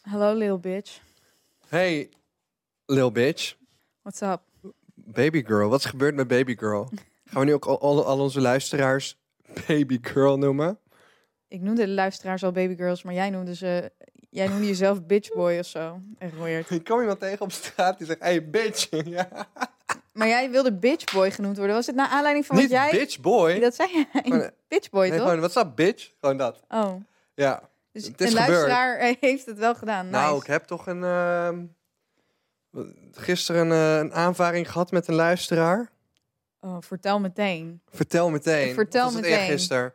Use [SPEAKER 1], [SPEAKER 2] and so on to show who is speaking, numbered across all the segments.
[SPEAKER 1] Hello, little bitch.
[SPEAKER 2] Hey, lil bitch.
[SPEAKER 1] What's up?
[SPEAKER 2] Baby girl. Wat is gebeurd met baby girl? Gaan we nu ook al, al, al onze luisteraars baby girl noemen?
[SPEAKER 1] Ik noemde de luisteraars al babygirls, maar jij noemde ze... Jij noemde jezelf bitch boy of zo. Echt weird.
[SPEAKER 2] Ik kwam iemand tegen op straat die zegt, hey bitch. Ja.
[SPEAKER 1] Maar jij wilde bitch boy genoemd worden. Was dit naar aanleiding van wat
[SPEAKER 2] Niet
[SPEAKER 1] jij...
[SPEAKER 2] bitch boy.
[SPEAKER 1] Dat zei jij.
[SPEAKER 2] Gewoon-
[SPEAKER 1] bitch boy,
[SPEAKER 2] nee,
[SPEAKER 1] toch?
[SPEAKER 2] gewoon, what's up bitch? Gewoon dat.
[SPEAKER 1] Oh.
[SPEAKER 2] Ja.
[SPEAKER 1] Dus
[SPEAKER 2] Het
[SPEAKER 1] een
[SPEAKER 2] is gebeurd.
[SPEAKER 1] luisteraar eh, heeft het wel gedaan. Nice.
[SPEAKER 2] Nou, ik heb toch een... ehm, gisteren eh, een aanvaring gehad met een luisteraar.
[SPEAKER 1] oh, vertel meteen.
[SPEAKER 2] Vertel meteen.
[SPEAKER 1] Vertel
[SPEAKER 2] Wat was
[SPEAKER 1] meteen.
[SPEAKER 2] Het eergisteren.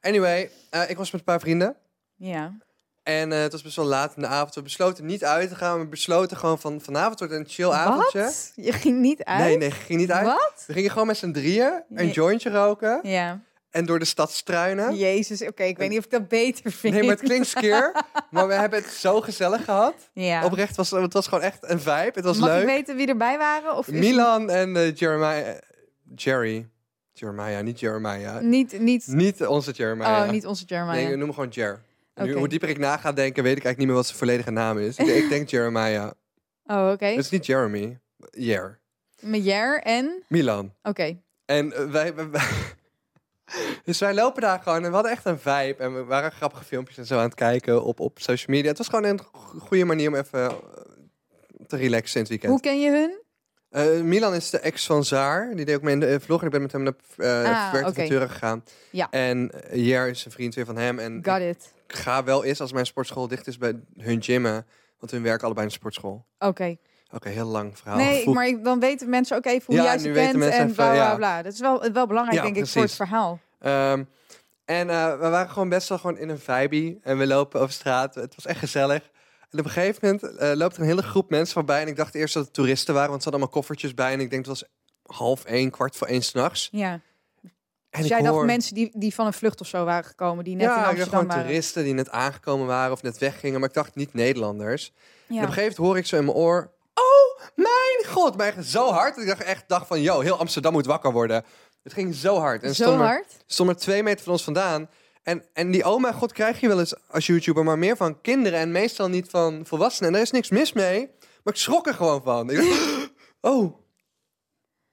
[SPEAKER 2] Anyway, eh, ik was met een paar vrienden.
[SPEAKER 1] Ja.
[SPEAKER 2] En eh, het was best wel laat in de avond. We besloten niet uit te gaan. We besloten gewoon van vanavond wordt een chill avondje.
[SPEAKER 1] Wat? Je ging niet uit?
[SPEAKER 2] Nee, nee, ging niet uit.
[SPEAKER 1] Wat?
[SPEAKER 2] We gingen gewoon met z'n drieën een
[SPEAKER 1] Nee.
[SPEAKER 2] jointje roken.
[SPEAKER 1] Ja.
[SPEAKER 2] En door de stad struinen.
[SPEAKER 1] Jezus, oké, ik weet niet of ik dat beter vind.
[SPEAKER 2] Nee, maar het klinkt skeer. maar we hebben het zo gezellig gehad.
[SPEAKER 1] ja.
[SPEAKER 2] Oprecht, was, het was gewoon echt een vibe. Het was
[SPEAKER 1] Mag ik
[SPEAKER 2] leuk.
[SPEAKER 1] weten wie erbij waren? Of is het
[SPEAKER 2] Milan en eh, Jeremiah. eh, Jerry. Jeremiah, niet Jeremiah.
[SPEAKER 1] Niet, niet,
[SPEAKER 2] Niet onze Jeremiah.
[SPEAKER 1] oh, niet onze Jeremiah.
[SPEAKER 2] Nee, we noemen gewoon Jer. Nu,
[SPEAKER 1] Oké.
[SPEAKER 2] Hoe dieper ik na ga denken, weet ik eigenlijk niet meer wat zijn volledige naam is. Ik, ik denk Jeremiah.
[SPEAKER 1] Oh, oké.
[SPEAKER 2] Het is niet Jeremy. Jer.
[SPEAKER 1] Met Jer en...
[SPEAKER 2] Milan.
[SPEAKER 1] Oké.
[SPEAKER 2] En eh, wij, wij- wij- Dus wij lopen daar gewoon en we hadden echt een vibe. En we waren grappige filmpjes en zo aan het kijken op, op social media. Het was gewoon een go- goede manier om even eh, te relaxen in het weekend.
[SPEAKER 1] Hoe ken je hun?
[SPEAKER 2] Eh, Milan is de ex van Zaar. Die deed ook mee in de eh, vlog. En ik ben met hem naar eh
[SPEAKER 1] Ah,
[SPEAKER 2] werkavonturen gegaan.
[SPEAKER 1] Ja.
[SPEAKER 2] En eh, Jer is een vriend weer van hem. En
[SPEAKER 1] Got it.
[SPEAKER 2] ik ga wel eens als mijn sportschool dicht is bij hun gymmen. Want hun werken allebei in de sportschool.
[SPEAKER 1] Oké.
[SPEAKER 2] Oké, heel lang verhaal.
[SPEAKER 1] Nee,
[SPEAKER 2] Voel-
[SPEAKER 1] maar ik- dan weten mensen ook even hoe
[SPEAKER 2] Ja,
[SPEAKER 1] jij ze
[SPEAKER 2] nu weten
[SPEAKER 1] kent en
[SPEAKER 2] mensen
[SPEAKER 1] bla,
[SPEAKER 2] even,
[SPEAKER 1] bla,
[SPEAKER 2] ja.
[SPEAKER 1] bla, Dat is wel, wel belangrijk,
[SPEAKER 2] Ja,
[SPEAKER 1] denk ik, voor het
[SPEAKER 2] precies.
[SPEAKER 1] verhaal.
[SPEAKER 2] Ehm, en eh, we waren gewoon best wel gewoon in een vibey. En we lopen over straat. Het was echt gezellig. En op een gegeven moment eh, loopt er een hele groep mensen voorbij. En ik dacht eerst dat het toeristen waren, want ze hadden allemaal koffertjes bij. En ik denk, het was half één, kwart voor één s'nachts.
[SPEAKER 1] Ja.
[SPEAKER 2] En
[SPEAKER 1] Dus
[SPEAKER 2] ik
[SPEAKER 1] jij dacht
[SPEAKER 2] hoor-
[SPEAKER 1] mensen die, die van een vlucht of zo waren gekomen, die net
[SPEAKER 2] ja,
[SPEAKER 1] in
[SPEAKER 2] ik dacht
[SPEAKER 1] Amsterdam
[SPEAKER 2] gewoon
[SPEAKER 1] waren.
[SPEAKER 2] toeristen die net aangekomen waren of net weggingen. Maar ik dacht niet Nederlanders.
[SPEAKER 1] Ja.
[SPEAKER 2] En op een gegeven moment hoor ik zo in mijn oor... Oh, mijn god! Maar echt zo hard. Dat ik dacht echt dacht van... Yo, heel Amsterdam moet wakker worden. Het ging zo hard. En
[SPEAKER 1] Zo
[SPEAKER 2] stond er-
[SPEAKER 1] hard?
[SPEAKER 2] stond er twee meter van ons vandaan. En, en die oma, god, krijg je wel eens als YouTuber... maar meer van kinderen en meestal niet van volwassenen. En daar is niks mis mee. Maar ik schrok er gewoon van. Ik dacht, oh...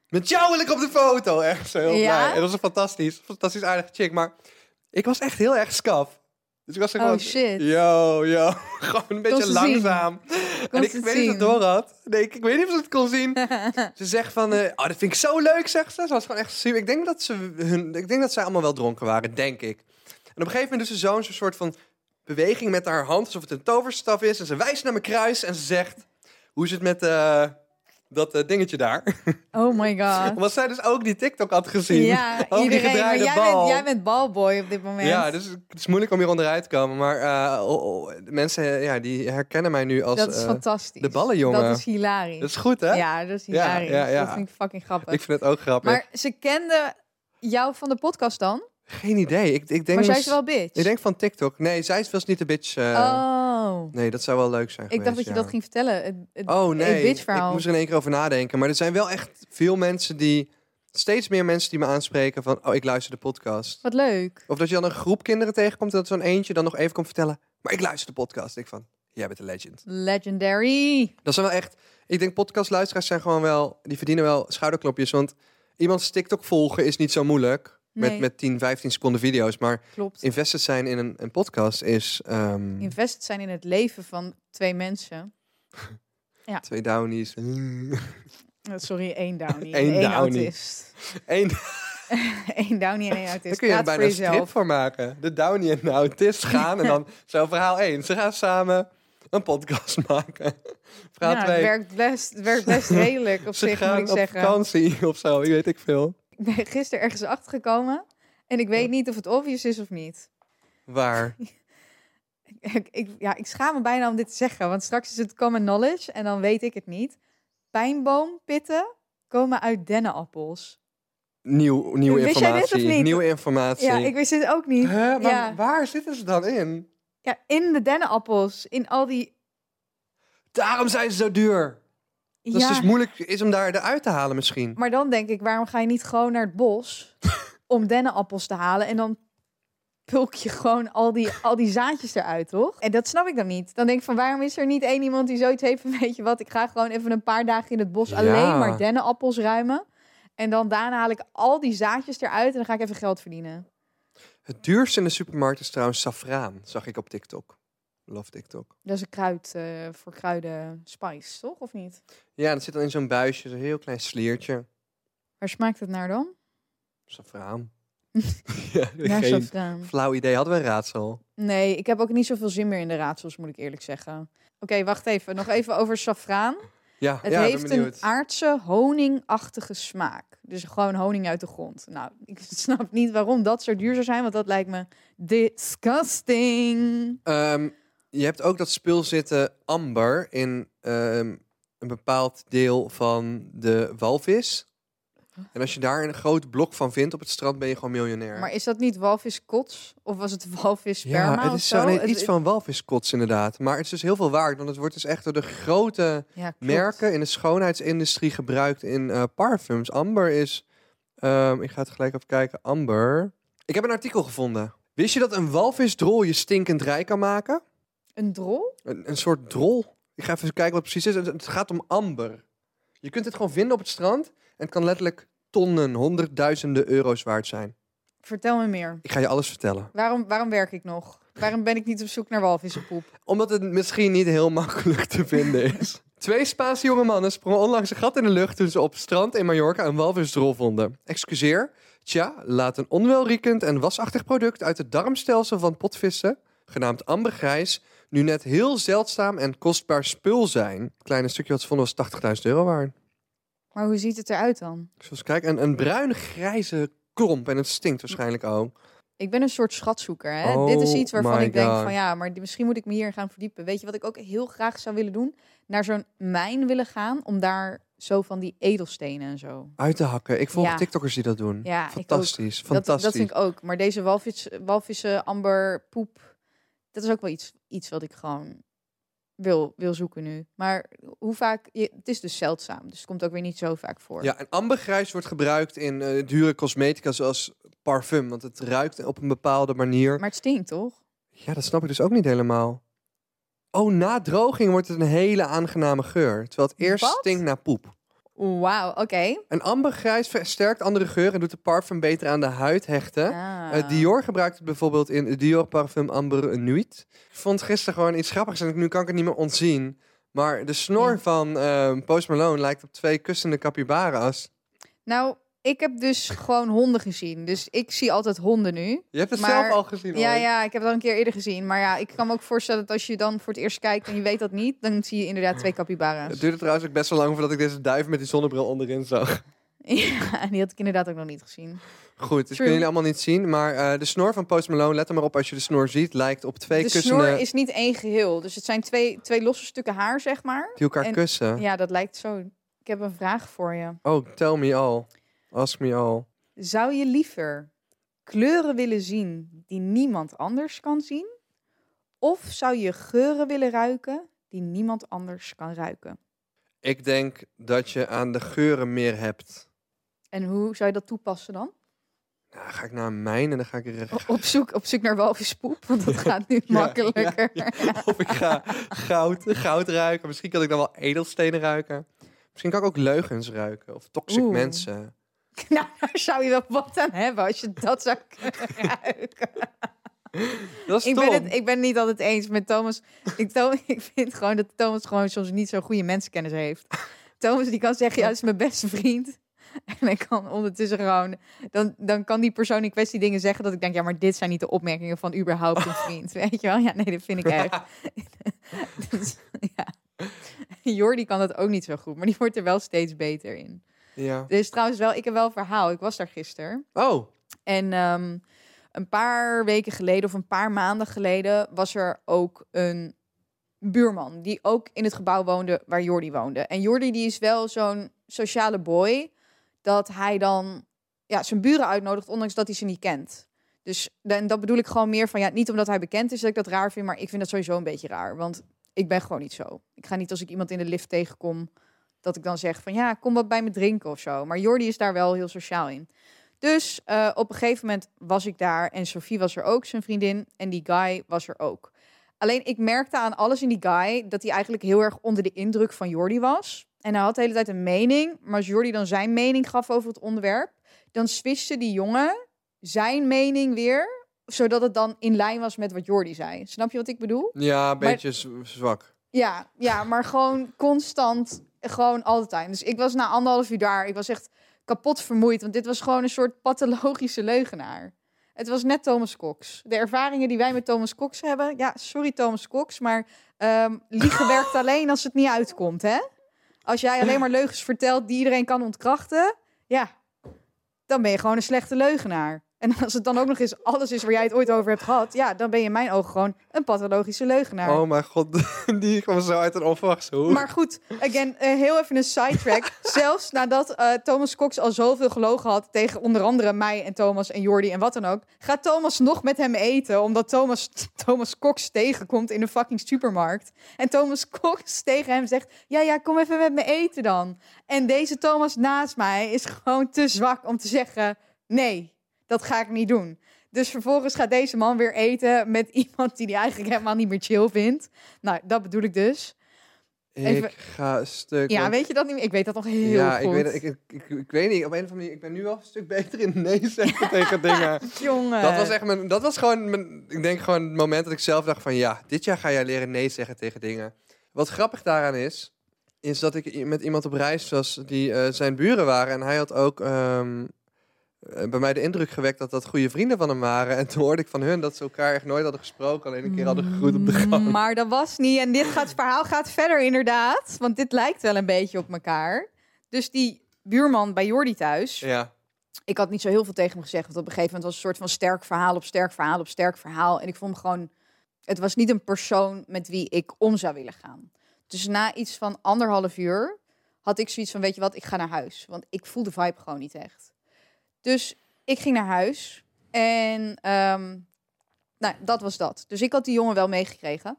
[SPEAKER 2] Met jou wil ik op de foto. Echt zo heel
[SPEAKER 1] Ja?
[SPEAKER 2] blij. En dat was een fantastisch, fantastisch aardige chick. Maar ik was echt heel erg scaf. Dus ik was er
[SPEAKER 1] Oh,
[SPEAKER 2] gewoon...
[SPEAKER 1] shit.
[SPEAKER 2] Yo, yo. Gewoon een beetje
[SPEAKER 1] ze zien.
[SPEAKER 2] langzaam.
[SPEAKER 1] Kon
[SPEAKER 2] en ik
[SPEAKER 1] ze het
[SPEAKER 2] weet niet of
[SPEAKER 1] zien?
[SPEAKER 2] ze het door had. Nee, ik, ik weet niet of ze het kon zien. ze zegt van, eh, oh, dat vind ik zo leuk, zegt ze. Ze was gewoon echt super. Ik denk dat ze hun, ik denk dat zij allemaal wel dronken waren, denk ik. En op een gegeven moment doet ze zo'n soort van beweging met haar hand, alsof het een toverstaf is. En ze wijst naar mijn kruis en ze zegt, hoe is het met eh, dat eh, dingetje daar?
[SPEAKER 1] Oh my god.
[SPEAKER 2] Want zij dus ook die TikTok had gezien.
[SPEAKER 1] Ja,
[SPEAKER 2] Ook die
[SPEAKER 1] iedereen. Maar
[SPEAKER 2] gedraaide
[SPEAKER 1] jij,
[SPEAKER 2] bal.
[SPEAKER 1] Bent, jij bent balboy op dit moment.
[SPEAKER 2] Ja, dus het is moeilijk om hier onderuit te komen. Maar eh, oh, oh, de mensen ja, die herkennen mij nu als...
[SPEAKER 1] dat is
[SPEAKER 2] eh,
[SPEAKER 1] fantastisch.
[SPEAKER 2] de ballenjongen.
[SPEAKER 1] Dat is hilarisch.
[SPEAKER 2] dat is goed, hè?
[SPEAKER 1] Ja, dat is
[SPEAKER 2] Ja,
[SPEAKER 1] hilarisch.
[SPEAKER 2] ja, ja.
[SPEAKER 1] Dat vind ik fucking grappig.
[SPEAKER 2] Ik vind het ook grappig.
[SPEAKER 1] Maar ze kenden jou van de podcast dan?
[SPEAKER 2] Geen idee. Ik, ik denk
[SPEAKER 1] maar zij
[SPEAKER 2] mis-
[SPEAKER 1] is wel bitch.
[SPEAKER 2] Ik denk van TikTok. Nee, zij was niet de bitch. eh,
[SPEAKER 1] oh.
[SPEAKER 2] Nee, dat zou wel leuk zijn
[SPEAKER 1] Ik dacht dat
[SPEAKER 2] geweest,
[SPEAKER 1] je
[SPEAKER 2] ja.
[SPEAKER 1] dat ging vertellen. Het, het-
[SPEAKER 2] Oh nee,
[SPEAKER 1] bitch
[SPEAKER 2] ik
[SPEAKER 1] verhaal.
[SPEAKER 2] moest er in één keer over nadenken. Maar er zijn wel echt veel mensen die... Steeds meer mensen die me aanspreken van... Oh, ik luister de podcast.
[SPEAKER 1] Wat leuk.
[SPEAKER 2] Of dat je dan een groep kinderen tegenkomt... en dat zo'n eentje dan nog even komt vertellen... Maar ik luister de podcast. Ik van, jij bent een legend.
[SPEAKER 1] Legendary.
[SPEAKER 2] Dat zijn wel echt. Ik denk podcastluisteraars zijn gewoon wel. Die verdienen wel schouderklopjes. Want iemands TikTok volgen is niet zo moeilijk. Met,
[SPEAKER 1] Nee.
[SPEAKER 2] met 10, 15 seconden video's. Maar
[SPEAKER 1] Klopt.
[SPEAKER 2] invested zijn in een, een podcast is. ehm,
[SPEAKER 1] Invest zijn in het leven van twee mensen.
[SPEAKER 2] twee downies.
[SPEAKER 1] Eh, Sorry, één downie.
[SPEAKER 2] Eén
[SPEAKER 1] en één
[SPEAKER 2] downie.
[SPEAKER 1] autist.
[SPEAKER 2] Eén.
[SPEAKER 1] Eén downie en één
[SPEAKER 2] Daar
[SPEAKER 1] autist.
[SPEAKER 2] kun je er
[SPEAKER 1] Praat dus
[SPEAKER 2] bijna
[SPEAKER 1] voor
[SPEAKER 2] een strip
[SPEAKER 1] jezelf.
[SPEAKER 2] voor maken. De downie en de autist gaan. en dan zo verhaal 1. Ze gaan samen een podcast maken. Verhaal
[SPEAKER 1] Ja, het
[SPEAKER 2] 2.
[SPEAKER 1] Nou, werkt best, het werkt best redelijk op
[SPEAKER 2] Ze
[SPEAKER 1] zich, moet
[SPEAKER 2] gaan
[SPEAKER 1] ik
[SPEAKER 2] op
[SPEAKER 1] zeggen.
[SPEAKER 2] vakantie of zo. Weet ik veel.
[SPEAKER 1] Ik ben gisteren ergens achtergekomen. En ik weet niet of het obvious is of niet.
[SPEAKER 2] Waar?
[SPEAKER 1] Ik, ik- ja, ik schaam me bijna om dit te zeggen. Want straks is het common knowledge en dan weet ik het niet. Pijnboompitten komen uit dennenappels.
[SPEAKER 2] Nieuw, nieuwe
[SPEAKER 1] Wist jij dit of
[SPEAKER 2] informatie.
[SPEAKER 1] niet?
[SPEAKER 2] Nieuwe informatie.
[SPEAKER 1] Ja, ik wist het ook niet.
[SPEAKER 2] Hè? Maar
[SPEAKER 1] Ja.
[SPEAKER 2] waar zitten ze dan in?
[SPEAKER 1] Ja, in de dennenappels. In al die...
[SPEAKER 2] Daarom zijn ze zo duur. Dat
[SPEAKER 1] ja,
[SPEAKER 2] het dus moeilijk is om daar eruit te halen misschien.
[SPEAKER 1] maar dan denk ik, waarom ga je niet gewoon naar het bos... om dennenappels te halen en dan pulk je gewoon al die, al die zaadjes eruit, toch? En dat snap ik dan niet. Dan denk ik van, waarom is er niet één iemand die zoiets heeft van, weet je wat, ik ga gewoon even een paar dagen in het bos
[SPEAKER 2] Ja.
[SPEAKER 1] alleen maar dennenappels ruimen. En dan daarna haal ik al die zaadjes eruit en dan ga ik even geld verdienen.
[SPEAKER 2] Het duurste in de supermarkt is trouwens safraan, zag ik op TikTok. Love TikTok.
[SPEAKER 1] Dat is een kruid eh, voor kruiden spice, toch? Of niet?
[SPEAKER 2] Ja, dat zit dan in zo'n buisje, zo'n heel klein sliertje.
[SPEAKER 1] Waar smaakt het naar dan?
[SPEAKER 2] Safraan. ja,
[SPEAKER 1] Naar
[SPEAKER 2] geen
[SPEAKER 1] saffraan.
[SPEAKER 2] flauw idee. Hadden we een raadsel?
[SPEAKER 1] Nee, ik heb ook niet zoveel zin meer in de raadsels, moet ik eerlijk zeggen. Oké, wacht even. Nog even over safraan.
[SPEAKER 2] Ja,
[SPEAKER 1] Het
[SPEAKER 2] ja, ik
[SPEAKER 1] heeft
[SPEAKER 2] ben
[SPEAKER 1] een
[SPEAKER 2] benieuwd.
[SPEAKER 1] aardse honingachtige smaak. Dus gewoon honing uit de grond. Nou, ik snap niet waarom dat zo duur zou zijn, want dat lijkt me disgusting.
[SPEAKER 2] Ehm, je hebt ook dat spul zitten amber in ehm, een bepaald deel van de walvis. En als je daar een groot blok van vindt op het strand, ben je gewoon miljonair.
[SPEAKER 1] Maar is dat niet walviskots? Of was het walvissperma
[SPEAKER 2] ja, het
[SPEAKER 1] of
[SPEAKER 2] is
[SPEAKER 1] zo?
[SPEAKER 2] zo, nee,
[SPEAKER 1] Het-
[SPEAKER 2] iets van walviskots inderdaad. Maar het is dus heel veel waard, want het wordt dus echt door de grote
[SPEAKER 1] ja, klopt.
[SPEAKER 2] merken in de schoonheidsindustrie gebruikt in eh, parfums. Amber is. ehm, ik ga het gelijk even kijken. Amber. Ik heb een artikel gevonden. Wist je dat een walvisdrol je stinkend rijk kan maken?
[SPEAKER 1] Een drol?
[SPEAKER 2] Een, een soort drol. Ik ga even kijken wat het precies is. Het- Het gaat om amber. Je kunt het gewoon vinden op het strand. En het kan letterlijk tonnen, honderdduizenden euro's waard zijn.
[SPEAKER 1] Vertel me meer.
[SPEAKER 2] Ik ga je alles vertellen.
[SPEAKER 1] Waarom, waarom werk ik nog? Waarom ben ik niet op zoek naar walvissenpoep?
[SPEAKER 2] Omdat het misschien niet heel makkelijk te vinden is. Twee Spaanse jonge mannen sprongen onlangs een gat in de lucht toen ze op het strand in Mallorca een walvisdrol vonden. Excuseer, tja, laat een onwelriekend en wasachtig product uit het darmstelsel van potvissen, genaamd ambergrijs, nu net heel zeldzaam en kostbaar spul zijn. Het kleine stukje wat ze vonden was 80.000 euro waard.
[SPEAKER 1] Maar hoe ziet het eruit dan?
[SPEAKER 2] Zoals kijk, een, een bruine grijze klomp en het stinkt waarschijnlijk ook.
[SPEAKER 1] Ik ben een soort schatzoeker. Hè?
[SPEAKER 2] Oh
[SPEAKER 1] Dit is iets waarvan
[SPEAKER 2] my
[SPEAKER 1] ik denk
[SPEAKER 2] God.
[SPEAKER 1] van ja, maar die- misschien moet ik me hier gaan verdiepen. Weet je wat ik ook heel graag zou willen doen? Naar zo'n mijn willen gaan om daar zo van die edelstenen en zo.
[SPEAKER 2] Uit te hakken. Ik volg
[SPEAKER 1] Ja.
[SPEAKER 2] TikTokkers die dat doen.
[SPEAKER 1] Ja, ik ook.
[SPEAKER 2] fantastisch,
[SPEAKER 1] Dat,
[SPEAKER 2] fantastisch.
[SPEAKER 1] dat vind ik ook. Maar deze walvis, walvissen, amber, poep, dat is ook wel iets, iets wat ik gewoon wil, wil zoeken nu. Maar hoe vaak, je, het is dus zeldzaam, dus het komt ook weer niet zo vaak voor.
[SPEAKER 2] Ja, en ambergrijs wordt gebruikt in eh, dure cosmetica zoals parfum, want het ruikt op een bepaalde manier.
[SPEAKER 1] Maar het stinkt toch?
[SPEAKER 2] Ja, dat snap ik dus ook niet helemaal. Oh, na droging wordt het een hele aangename geur, terwijl het eerst
[SPEAKER 1] Wat?
[SPEAKER 2] stinkt naar poep.
[SPEAKER 1] Wauw, oké.
[SPEAKER 2] En ambergrijs versterkt andere geuren en doet de parfum beter aan de huid hechten.
[SPEAKER 1] Ah.
[SPEAKER 2] Eh, Dior gebruikt het bijvoorbeeld in het Dior Parfum Amber Nuit. Ik vond gisteren gewoon iets grappigs en ik- nu kan ik het niet meer ontzien. Maar de snor
[SPEAKER 1] Ja.
[SPEAKER 2] van eh, Post Malone lijkt op twee kussende capybara's.
[SPEAKER 1] Nou, ik heb dus gewoon honden gezien. Dus ik zie altijd honden nu.
[SPEAKER 2] Je hebt het
[SPEAKER 1] Maar-
[SPEAKER 2] zelf al gezien.
[SPEAKER 1] Ja,
[SPEAKER 2] ooit.
[SPEAKER 1] ja, ik heb dat een keer eerder gezien. Maar ja, ik kan me ook voorstellen dat als je dan voor het eerst kijkt en je weet dat niet, dan zie je inderdaad twee
[SPEAKER 2] Het
[SPEAKER 1] capybara's.
[SPEAKER 2] duurde trouwens ook best wel lang voordat ik deze duif met die zonnebril onderin zag.
[SPEAKER 1] Ja, en die had ik inderdaad ook nog niet gezien.
[SPEAKER 2] Goed, dus
[SPEAKER 1] True.
[SPEAKER 2] kunnen jullie allemaal niet zien. Maar eh, de snor van Post Malone, let er maar op als je de snor ziet, lijkt op twee
[SPEAKER 1] de
[SPEAKER 2] kussenen
[SPEAKER 1] snor is niet één geheel. Dus het zijn twee, twee losse stukken haar, zeg maar.
[SPEAKER 2] die elkaar
[SPEAKER 1] en-
[SPEAKER 2] kussen.
[SPEAKER 1] Ja, dat lijkt zo. Ik heb een vraag voor je.
[SPEAKER 2] Oh, tell me all. Ask me all.
[SPEAKER 1] Zou je liever kleuren willen zien die niemand anders kan zien? Of zou je geuren willen ruiken die niemand anders kan ruiken?
[SPEAKER 2] Ik denk dat je aan de geuren meer hebt.
[SPEAKER 1] En hoe zou je dat toepassen dan?
[SPEAKER 2] Nou, dan ga ik naar een mijn en dan ga ik... er-
[SPEAKER 1] O- Op zoek, op zoek naar walvispoep, want dat gaat nu
[SPEAKER 2] ja,
[SPEAKER 1] makkelijker.
[SPEAKER 2] ja. Of ik ga goud, goud ruiken. Misschien kan ik dan wel edelstenen ruiken. Misschien kan ik ook leugens ruiken. Of toxic
[SPEAKER 1] Oeh.
[SPEAKER 2] mensen.
[SPEAKER 1] Nou, daar zou je wel wat aan hebben als je dat zou kunnen ruiken.
[SPEAKER 2] Dat is
[SPEAKER 1] Ik ben,
[SPEAKER 2] stom.
[SPEAKER 1] het, ik ben het niet altijd eens met Thomas. Ik, Tho- ik vind gewoon dat Thomas gewoon soms niet zo'n goede mensenkennis heeft. Thomas die kan zeggen, ja, dat is mijn beste vriend. En ik kan ondertussen gewoon... Dan, dan kan die persoon in kwestie dingen zeggen dat ik denk... Ja, maar dit zijn niet de opmerkingen van überhaupt een vriend. Weet je wel? Ja, nee, dat vind ik echt. Dus, ja. Jordi kan dat ook niet zo goed. Maar die wordt er wel steeds beter in.
[SPEAKER 2] Ja.
[SPEAKER 1] Er is trouwens wel... Ik heb wel een verhaal. Ik was daar gisteren.
[SPEAKER 2] Oh,
[SPEAKER 1] En ehm, een paar weken geleden of een paar maanden geleden was er ook een buurman die ook in het gebouw woonde waar Jordi woonde. En Jordi die is wel zo'n sociale boy dat hij dan ja, zijn buren uitnodigt ondanks dat hij ze niet kent. Dus en dat bedoel ik gewoon meer van ja, niet omdat hij bekend is dat ik dat raar vind, maar ik vind dat sowieso een beetje raar, want ik ben gewoon niet zo. Ik ga niet als ik iemand in de lift tegenkom dat ik dan zeg van ja, kom wat bij me drinken of zo. Maar Jordi is daar wel heel sociaal in. Dus eh, op een gegeven moment was ik daar en Sophie was er ook, zijn vriendin, en die guy was er ook. Alleen ik merkte aan alles in die guy dat hij eigenlijk heel erg onder de indruk van Jordi was. En hij had de hele tijd een mening, maar als Jordi dan zijn mening gaf over het onderwerp, dan switchte die jongen zijn mening weer, zodat het dan in lijn was met wat Jordi zei. Snap je wat ik bedoel?
[SPEAKER 2] Ja, een beetje z- zwak.
[SPEAKER 1] Ja, ja, maar gewoon constant, gewoon all the time. Dus ik was na anderhalf uur daar, ik was echt kapot vermoeid, want dit was gewoon een soort pathologische leugenaar. Het was net Thomas Cox. De ervaringen die wij met Thomas Cox hebben, ja, sorry Thomas Cox, maar ehm liegen werkt alleen als het niet uitkomt, hè? Als jij alleen maar leugens vertelt die iedereen kan ontkrachten, ja, dan ben je gewoon een slechte leugenaar. En als het dan ook nog eens alles is waar jij het ooit over hebt gehad, ja, dan ben je in mijn ogen gewoon een pathologische leugenaar.
[SPEAKER 2] Oh mijn god, die kwam zo uit een onverwachte hoek.
[SPEAKER 1] Maar goed, again, eh, heel even een sidetrack. Zelfs nadat eh, Thomas Cox al zoveel gelogen had tegen onder andere mij en Thomas en Jordi en wat dan ook, gaat Thomas nog met hem eten omdat Thomas, Thomas Cox tegenkomt in de fucking supermarkt. En Thomas Cox tegen hem zegt: Ja, ja, kom even met me eten dan. En deze Thomas naast mij is gewoon te zwak om te zeggen: Nee, dat ga ik niet doen. Dus vervolgens gaat deze man weer eten met iemand die hij eigenlijk helemaal niet meer chill vindt. Nou, dat bedoel ik dus. even-
[SPEAKER 2] Ik ga een stuk.
[SPEAKER 1] Ja,
[SPEAKER 2] want-
[SPEAKER 1] weet je dat niet meer? Ik weet dat nog heel
[SPEAKER 2] ja
[SPEAKER 1] goed.
[SPEAKER 2] ik, weet, het- ik, ik, ik, ik weet niet. Op een of andere manier, ik ben nu al een stuk beter in nee zeggen tegen dingen.
[SPEAKER 1] Jongen.
[SPEAKER 2] Dat was echt mijn, dat was gewoon mijn, ik denk gewoon het moment dat ik zelf dacht van ja, dit jaar ga jij leren nee zeggen tegen dingen. Wat grappig daaraan is, is dat ik i- met iemand op reis was die eh, zijn buren waren en hij had ook ehm, eh, bij mij de indruk gewekt dat dat goede vrienden van hem waren. En toen hoorde ik van hun dat ze elkaar echt nooit hadden gesproken, alleen een keer hadden gegroet op de gang.
[SPEAKER 1] Mm, Maar dat was niet. En dit gaat, het verhaal gaat verder inderdaad. Want dit lijkt wel een beetje op elkaar. Dus die buurman bij Jordi thuis.
[SPEAKER 2] Ja,
[SPEAKER 1] Ik had niet zo heel veel tegen hem gezegd. Want op een gegeven moment was het een soort van sterk verhaal op sterk verhaal op sterk verhaal. En ik vond hem gewoon... Het was niet een persoon met wie ik om zou willen gaan. Dus na iets van anderhalf uur had ik zoiets van... Weet je wat, ik ga naar huis. Want ik voel de vibe gewoon niet echt. Dus ik ging naar huis. En ehm, nou, dat was dat. Dus ik had die jongen wel meegekregen.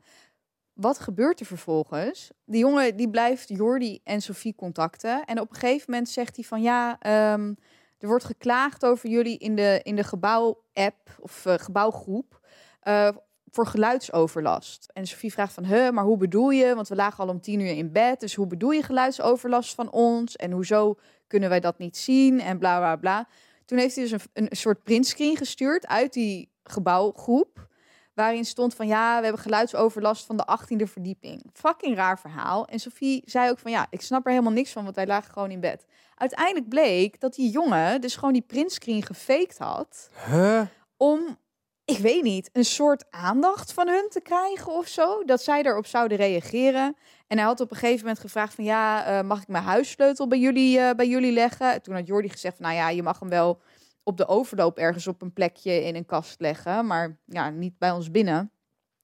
[SPEAKER 1] Wat gebeurt er vervolgens? Die jongen die blijft Jordi en Sophie contacten. En op een gegeven moment zegt hij van ja, ehm, er wordt geklaagd over jullie in de, in de gebouw-app of eh, gebouwgroep eh, voor geluidsoverlast. En Sophie vraagt van, huh, maar hoe bedoel je? Want we lagen al om tien uur in bed, dus hoe bedoel je geluidsoverlast van ons? En hoezo kunnen wij dat niet zien? En bla, bla, bla. Toen heeft hij dus een, een soort printscreen gestuurd uit die gebouwgroep. Waarin stond van ja, we hebben geluidsoverlast van de 18e verdieping. Fucking raar verhaal. En Sophie zei ook van ja, ik snap er helemaal niks van, want wij lagen gewoon in bed. Uiteindelijk bleek dat die jongen dus gewoon die printscreen gefaked had.
[SPEAKER 2] huh?
[SPEAKER 1] Om, ik weet niet, een soort aandacht van hun te krijgen of zo. Dat zij erop zouden reageren. En hij had op een gegeven moment gevraagd van ja, eh, mag ik mijn huissleutel bij jullie, eh, bij jullie leggen? En toen had Jordi gezegd van nou ja, je mag hem wel op de overloop ergens op een plekje in een kast leggen. Maar ja, niet bij ons binnen.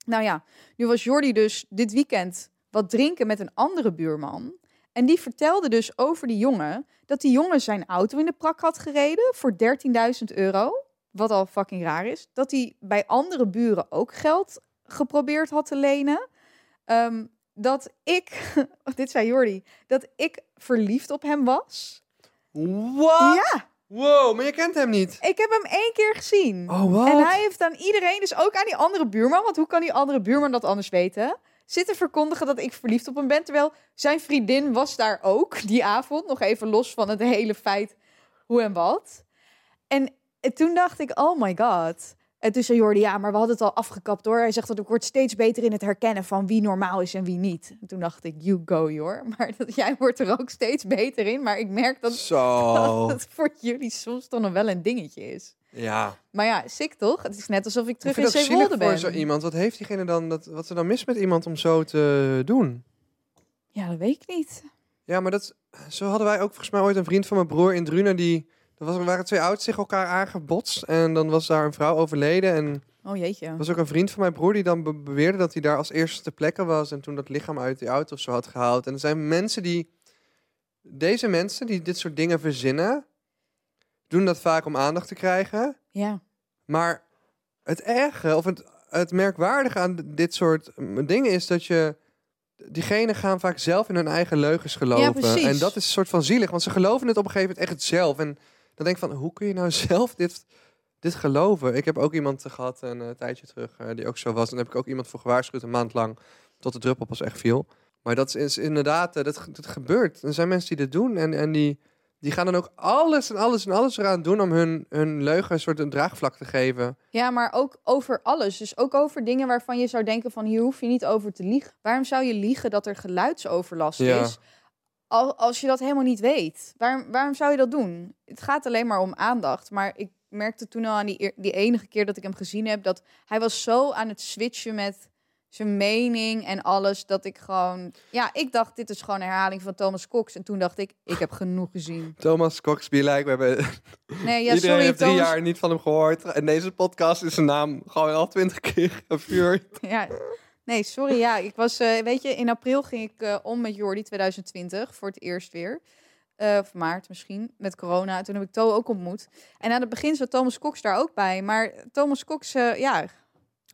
[SPEAKER 1] Nou ja, nu was Jordi dus dit weekend wat drinken met een andere buurman. En die vertelde dus over die jongen dat die jongen zijn auto in de prak had gereden voor 13.000 euro. Wat al fucking raar is. Dat hij bij andere buren ook geld geprobeerd had te lenen. Ehm, dat ik, dit zei Jordi, dat ik verliefd op hem was.
[SPEAKER 2] What?
[SPEAKER 1] Ja,
[SPEAKER 2] Wow, maar je kent hem niet.
[SPEAKER 1] ik heb hem één keer gezien.
[SPEAKER 2] Oh, wat?
[SPEAKER 1] En hij heeft aan iedereen, dus ook aan die andere buurman, want hoe kan die andere buurman dat anders weten? Zitten verkondigen dat ik verliefd op hem ben. Terwijl zijn vriendin was daar ook die avond. Nog even los van het hele feit hoe en wat. En eh, toen dacht ik, oh my god. En toen zei Jordi, ja, maar we hadden het al afgekapt hoor. Hij zegt dat ik word steeds beter in het herkennen van wie normaal is en wie niet. En toen dacht ik, you go Jor. Maar dat, jij wordt er ook steeds beter in. Maar ik merk dat,
[SPEAKER 2] Zo.
[SPEAKER 1] dat het voor jullie soms toch nog wel een dingetje is.
[SPEAKER 2] Ja.
[SPEAKER 1] Maar ja, sick toch? Het is net alsof ik terug
[SPEAKER 2] ik vind
[SPEAKER 1] in
[SPEAKER 2] dat zielig
[SPEAKER 1] Zeewolde
[SPEAKER 2] voor
[SPEAKER 1] ben.
[SPEAKER 2] zo iemand. Wat heeft diegene dan, dat, wat er dan mis met iemand om zo te doen?
[SPEAKER 1] Ja, dat weet ik niet.
[SPEAKER 2] Ja, maar dat, zo hadden wij ook volgens mij ooit een vriend van mijn broer in Drunen. Die, er was, er waren twee ouders zich elkaar aangebotst. En dan was daar een vrouw overleden. En er
[SPEAKER 1] Oh jeetje.
[SPEAKER 2] was ook een vriend van mijn broer die dan be- beweerde dat hij daar als eerste ter plekke was. En toen dat lichaam uit die auto of zo had gehaald. En er zijn mensen die, deze mensen die dit soort dingen verzinnen, doen dat vaak om aandacht te krijgen.
[SPEAKER 1] Ja.
[SPEAKER 2] Maar het erge of het, het merkwaardige aan d- dit soort mm, dingen is dat je. Diegenen gaan vaak zelf in hun eigen leugens geloven.
[SPEAKER 1] precies.
[SPEAKER 2] en dat is een soort van zielig, want ze geloven het op een gegeven moment echt zelf. En Dan denk ik van, hoe kun je nou zelf dit, dit geloven? Ik heb ook iemand eh, gehad een eh, tijdje terug eh, die ook zo was. En daar heb ik ook iemand voor gewaarschuwd een maand lang. Tot de druppel pas echt viel. Maar dat is- is inderdaad, eh, dat, ge- dat gebeurt. Er zijn mensen die dit doen en, en die, die gaan dan ook alles en alles en alles eraan doen om hun, hun leugen een soort een draagvlak te geven.
[SPEAKER 1] Ja, maar ook over alles. Dus ook over dingen waarvan je zou denken van hier hoef je niet over te liegen. Waarom zou je liegen dat er geluidsoverlast
[SPEAKER 2] Ja.
[SPEAKER 1] is? Al, als je dat helemaal niet weet. Waarom, waarom zou je dat doen? Het gaat alleen maar om aandacht. Maar ik merkte toen al aan die, eer- die enige keer dat ik hem gezien heb... dat hij was zo aan het switchen met zijn mening en alles... dat ik gewoon... Ja, ik dacht dit is gewoon een herhaling van Thomas Cox. En toen dacht ik, ik heb genoeg gezien.
[SPEAKER 2] Thomas Coxby lijkt, we hebben
[SPEAKER 1] Nee, ja,
[SPEAKER 2] Iedereen
[SPEAKER 1] sorry
[SPEAKER 2] heeft drie
[SPEAKER 1] Thomas.
[SPEAKER 2] jaar niet van hem gehoord. En deze podcast is zijn naam gewoon al twintig keer een vuur.
[SPEAKER 1] Ja. Nee, sorry. Ja, ik was, eh, weet je, in april ging ik eh, om met Jordi 2020 voor het eerst weer. Eh, of maart misschien, met corona. Toen heb ik To ook ontmoet. En aan het begin zat Thomas Cox daar ook bij. Maar Thomas Cox, eh, ja,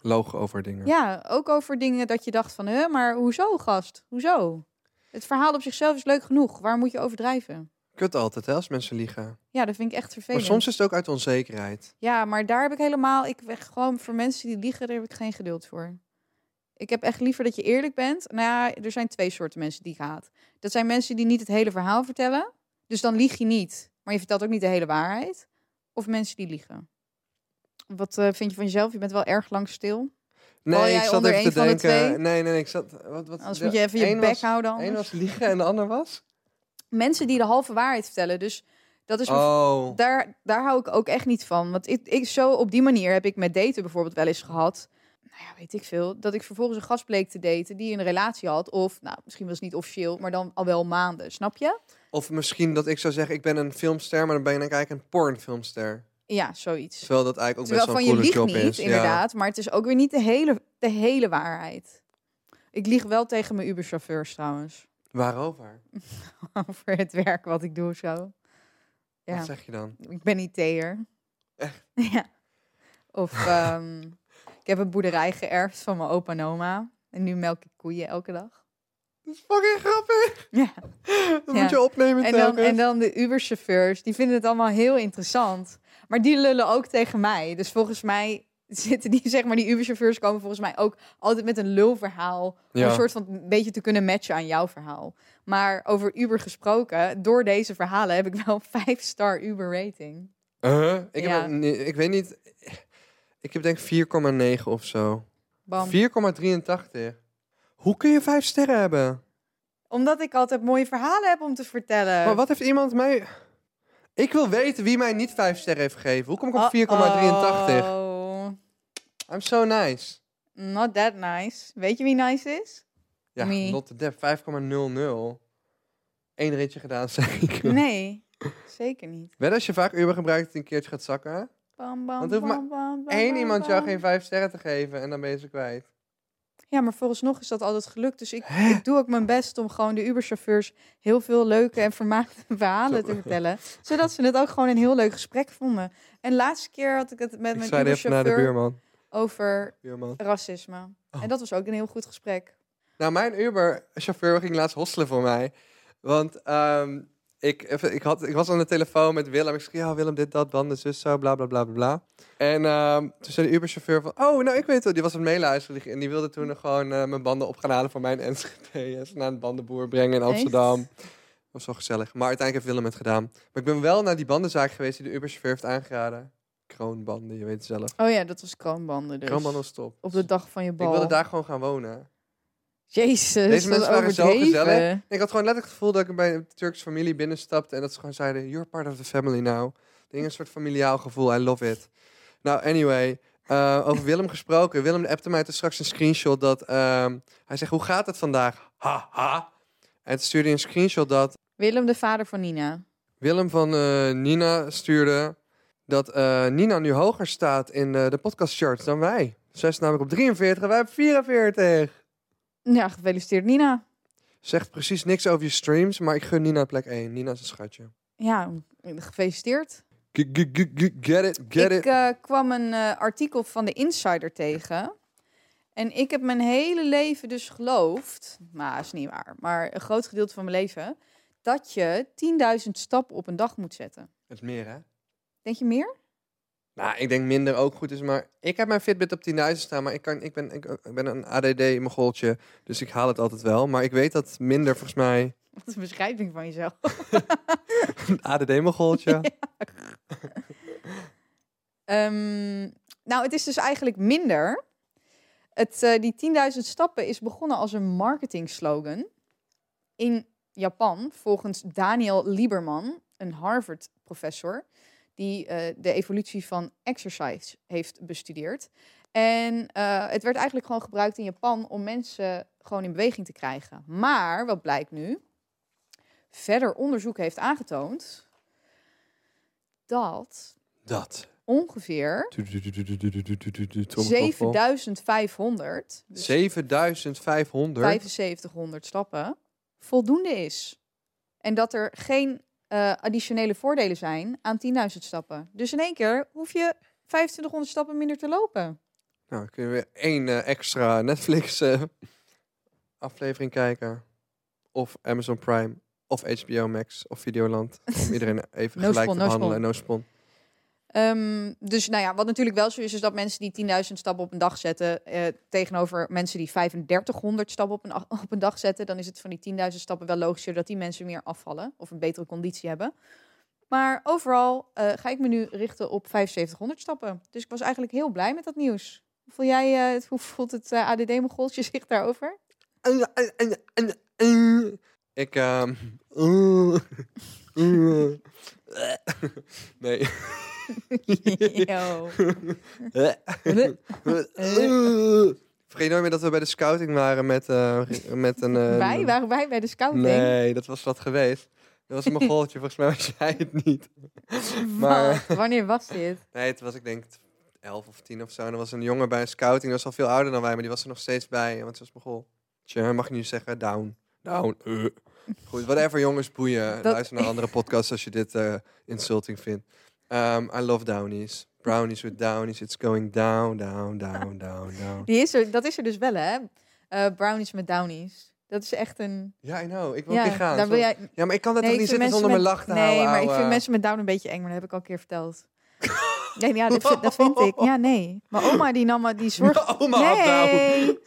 [SPEAKER 2] Loog over dingen.
[SPEAKER 1] ja, ook over dingen dat je dacht van... hè, maar hoezo, gast? Hoezo? Het verhaal op zichzelf is leuk genoeg. Waar moet je overdrijven?
[SPEAKER 2] Kut altijd, hè, als mensen liegen.
[SPEAKER 1] Ja, dat vind ik echt
[SPEAKER 2] Maar
[SPEAKER 1] vervelend.
[SPEAKER 2] soms is het ook uit onzekerheid.
[SPEAKER 1] Ja, maar daar heb ik helemaal. Ik weg gewoon voor mensen die liegen, daar heb ik geen geduld voor. Ik heb echt liever dat je eerlijk bent. Nou ja, er zijn twee soorten mensen die ik haat. Dat zijn mensen die niet het hele verhaal vertellen. Dus dan lieg je niet. Maar je vertelt ook niet de hele waarheid. Of mensen die liegen. Wat eh, vind je van jezelf? Je bent wel erg lang stil. Val jij
[SPEAKER 2] ik zat
[SPEAKER 1] onder
[SPEAKER 2] even te
[SPEAKER 1] één van de
[SPEAKER 2] denken.
[SPEAKER 1] twee?
[SPEAKER 2] Nee, nee, nee, ik zat. Wat, wat,
[SPEAKER 1] Anders
[SPEAKER 2] de-
[SPEAKER 1] moet je even je
[SPEAKER 2] één
[SPEAKER 1] bek
[SPEAKER 2] was-
[SPEAKER 1] houden.
[SPEAKER 2] Eén
[SPEAKER 1] Anders.
[SPEAKER 2] was liegen en de ander was?
[SPEAKER 1] Mensen die de halve waarheid vertellen. Dus dat is bijvoorbeeld-
[SPEAKER 2] Oh.
[SPEAKER 1] Daar, daar hou ik ook echt niet van. Want ik, ik, zo op die manier heb ik met daten bijvoorbeeld wel eens gehad. Nou ja, weet ik veel. Dat ik vervolgens een gast bleek te daten die een relatie had. Of, nou, misschien was het niet officieel, maar dan al wel maanden. Snap je?
[SPEAKER 2] Of misschien dat ik zou zeggen, ik ben een filmster, maar dan ben ik eigenlijk een pornfilmster.
[SPEAKER 1] Ja, zoiets.
[SPEAKER 2] Terwijl dat eigenlijk ook
[SPEAKER 1] Terwijl
[SPEAKER 2] best
[SPEAKER 1] van
[SPEAKER 2] wel
[SPEAKER 1] je
[SPEAKER 2] een coole
[SPEAKER 1] liegt
[SPEAKER 2] job
[SPEAKER 1] niet,
[SPEAKER 2] is. Ja.
[SPEAKER 1] inderdaad. Maar het is ook weer niet de hele, de hele waarheid. Ik lieg wel tegen mijn Uber-chauffeurs trouwens.
[SPEAKER 2] Waarover?
[SPEAKER 1] Over het werk wat ik doe of zo. Ja,
[SPEAKER 2] Wat zeg je dan?
[SPEAKER 1] ik ben IT'er. Echt? Ja. Of ehm, ik heb een boerderij geërfd van mijn opa en oma. En nu melk ik koeien elke dag.
[SPEAKER 2] Dat is fucking grappig.
[SPEAKER 1] Ja.
[SPEAKER 2] Dat
[SPEAKER 1] Ja.
[SPEAKER 2] moet je opnemen
[SPEAKER 1] En dan,
[SPEAKER 2] telkens.
[SPEAKER 1] en dan de Uber-chauffeurs, die vinden het allemaal heel interessant. Maar die lullen ook tegen mij. Dus volgens mij zitten die, zeg maar, die Uber-chauffeurs komen volgens mij ook altijd met een lulverhaal. Om
[SPEAKER 2] Ja.
[SPEAKER 1] een soort van een beetje te kunnen matchen aan jouw verhaal. Maar over Uber gesproken, door deze verhalen heb ik wel een 5-star Uber-rating.
[SPEAKER 2] Huh? Uh-huh. Ik,
[SPEAKER 1] Ja.
[SPEAKER 2] heb, een- nee, ik weet niet. Ik heb denk ik 4,9 of zo.
[SPEAKER 1] Bam.
[SPEAKER 2] 4,83. Hoe kun je vijf sterren hebben?
[SPEAKER 1] Omdat ik altijd mooie verhalen heb om te vertellen.
[SPEAKER 2] Maar wat heeft iemand mij... Ik wil weten wie mij niet vijf sterren heeft gegeven. Hoe kom ik op 4,83?
[SPEAKER 1] Oh,
[SPEAKER 2] I'm so nice.
[SPEAKER 1] not that nice. Weet je wie nice is?
[SPEAKER 2] Ja,
[SPEAKER 1] Me.
[SPEAKER 2] Lotte Depp, 5,00. Eén ritje gedaan, zeker. ik.
[SPEAKER 1] Nee, zeker niet.
[SPEAKER 2] Wel als je vaak Uber gebruikt, het een keertje gaat zakken.
[SPEAKER 1] Bam, bam,
[SPEAKER 2] Want er hoeft
[SPEAKER 1] bam, bam, bam,
[SPEAKER 2] Eén
[SPEAKER 1] bam,
[SPEAKER 2] iemand jou
[SPEAKER 1] bam.
[SPEAKER 2] geen vijf sterren te geven en dan ben je ze kwijt.
[SPEAKER 1] Ja, maar vooralsnog is dat altijd gelukt. Dus ik, ik doe ook mijn best om gewoon de Uberchauffeurs heel veel leuke en vermaakte verhalen te vertellen. Zodat ze het ook gewoon een heel leuk gesprek vonden. En laatste keer had ik het met
[SPEAKER 2] ik
[SPEAKER 1] mijn
[SPEAKER 2] zei even naar de
[SPEAKER 1] Uberchauffeur
[SPEAKER 2] buurman. Oh.
[SPEAKER 1] over
[SPEAKER 2] buurman.
[SPEAKER 1] racisme. En dat was ook een heel goed gesprek.
[SPEAKER 2] Nou, mijn Uber-chauffeur ging laatst hosselen voor mij. Want ehm, ik, even- ik, had, ik was aan de telefoon met Willem. Ik zei, ja, Willem, dit, dat, banden, zus, zo, bla, bla, bla, bla, bla. En ehm, toen zei de Uber-chauffeur van, oh, nou, ik weet wel. Die was aan het meeluisteren. die- En die wilde toen nog gewoon eh, mijn banden op gaan halen voor mijn Enschede. En ze naar een bandenboer brengen in
[SPEAKER 1] Echt?
[SPEAKER 2] Amsterdam. Dat was wel gezellig. Maar uiteindelijk heeft Willem het gedaan. Maar ik ben wel naar die bandenzaak geweest die de Uber-chauffeur heeft aangeraden. Kroonbanden, je weet het zelf.
[SPEAKER 1] Oh ja, dat was kroonbanden dus.
[SPEAKER 2] Kroonbanden was top.
[SPEAKER 1] Op de dag van je
[SPEAKER 2] ik
[SPEAKER 1] bal.
[SPEAKER 2] wilde daar gewoon gaan wonen.
[SPEAKER 1] Jezus,
[SPEAKER 2] Deze
[SPEAKER 1] dat is
[SPEAKER 2] mensen waren zo
[SPEAKER 1] overdreven.
[SPEAKER 2] gezellig. Ik had gewoon letterlijk het gevoel dat ik bij een Turkse familie binnenstapte en dat ze gewoon zeiden: You're part of the family now. Ik denk een soort familiaal gevoel, I love it. Nou, anyway, eh, over Willem gesproken. Willem appte mij toen straks een screenshot dat ehm, hij zegt: Hoe gaat het vandaag? Haha. En toen stuurde hij een screenshot dat
[SPEAKER 1] Willem, de vader van Nina.
[SPEAKER 2] Willem van eh, Nina stuurde dat eh, Nina nu hoger staat in eh, de podcastcharts dan wij. Zij is namelijk op 43 en wij op 44.
[SPEAKER 1] Ja, gefeliciteerd Nina.
[SPEAKER 2] Zegt precies niks over je streams, maar ik gun Nina plek 1. Nina is een schatje.
[SPEAKER 1] Ja, gefeliciteerd.
[SPEAKER 2] G- g- g- g- Get it, get
[SPEAKER 1] ik
[SPEAKER 2] it.
[SPEAKER 1] eh, kwam een eh, artikel van de Insider tegen. En ik heb mijn hele leven dus geloofd, maar is niet waar, maar een groot gedeelte van mijn leven, dat je 10.000 stappen op een dag moet zetten.
[SPEAKER 2] Het meer, hè?
[SPEAKER 1] Denk je meer?
[SPEAKER 2] Nou, ik denk minder ook goed is, maar ik heb mijn Fitbit op 10.000 staan, maar ik, kan, ik, ben, ik, ik ben een ADD-mogoltje, dus ik haal het altijd wel. Maar ik weet dat minder volgens mij
[SPEAKER 1] Wat een beschrijving van jezelf.
[SPEAKER 2] een ADD-mogoltje.
[SPEAKER 1] Ehm, nou, het is dus eigenlijk minder. Het, eh, die 10.000 stappen is begonnen als een marketing slogan in Japan, volgens Daniel Lieberman, een Harvard-professor, die eh, de evolutie van exercise heeft bestudeerd. En eh, het werd eigenlijk gewoon gebruikt in Japan om mensen gewoon in beweging te krijgen. Maar wat blijkt nu? Verder onderzoek heeft aangetoond dat
[SPEAKER 2] Dat.
[SPEAKER 1] ongeveer 7500, dus
[SPEAKER 2] 7500.
[SPEAKER 1] 7500 stappen, voldoende is. En dat er geen eh, additionele voordelen zijn aan 10.000 stappen. Dus in één keer hoef je 2500 stappen minder te lopen.
[SPEAKER 2] Nou, dan kunnen we weer één eh, extra Netflix-aflevering kijken. Of Amazon Prime. Of HBO Max. Of Videoland. Om iedereen even
[SPEAKER 1] No
[SPEAKER 2] gelijk
[SPEAKER 1] spon, no spon.
[SPEAKER 2] te behandelen. en No spon.
[SPEAKER 1] Ehm, dus nou ja, wat natuurlijk wel zo is, is dat mensen die 10.000 stappen op een dag zetten, eh, tegenover mensen die 3500 stappen op een, a- op een dag zetten, dan is het van die 10.000 stappen wel logischer dat die mensen meer afvallen of een betere conditie hebben. Maar overal eh, ga ik me nu richten op 7500 stappen. Dus ik was eigenlijk heel blij met dat nieuws. Hoe Voel jij, eh, het, hoe voelt het eh, ADD-mogoltje zich daarover?
[SPEAKER 2] Ik, ehm, Nee.
[SPEAKER 1] Yo.
[SPEAKER 2] Ehm, Vergeet nooit meer dat we bij de scouting waren met, eh, met een... eh,
[SPEAKER 1] wij waren wij bij de scouting.
[SPEAKER 2] Nee, dat was wat geweest. Dat was een mogoltje, volgens mij was jij het niet. maar-
[SPEAKER 1] Wat? Wanneer was dit?
[SPEAKER 2] Nee, het was ik denk t- elf of tien of zo. En er was een jongen bij een scouting, die was al veel ouder dan wij, maar die was er nog steeds bij. Want ze was mogol. Tja, mag je nu zeggen, down. Down. eh. Goed, whatever jongens, boeien.
[SPEAKER 1] Dat-
[SPEAKER 2] Luister naar andere podcasts als je dit eh, insulting vindt. Ehm, I love downies. Brownies with downies. It's going down, down, down, down, down.
[SPEAKER 1] Die is er, dat is er dus wel, hè? Eh, brownies met downies. Dat is echt een.
[SPEAKER 2] Ja, I know. Ik wil ook niet gaan.
[SPEAKER 1] daar wil jij.
[SPEAKER 2] Ja, maar ik kan dat
[SPEAKER 1] Nee,
[SPEAKER 2] toch
[SPEAKER 1] ik
[SPEAKER 2] niet
[SPEAKER 1] vind mensen
[SPEAKER 2] zitten zonder
[SPEAKER 1] met...
[SPEAKER 2] mijn lach te
[SPEAKER 1] nee,
[SPEAKER 2] halen.
[SPEAKER 1] maar ik
[SPEAKER 2] ouwe.
[SPEAKER 1] vind mensen met down een beetje eng, maar dat heb ik al een keer verteld. Nee, ja, dat vind, dat vind ik. Ja, nee. Mijn oma die nam die zorg.
[SPEAKER 2] Mijn oma had down.
[SPEAKER 1] Nee.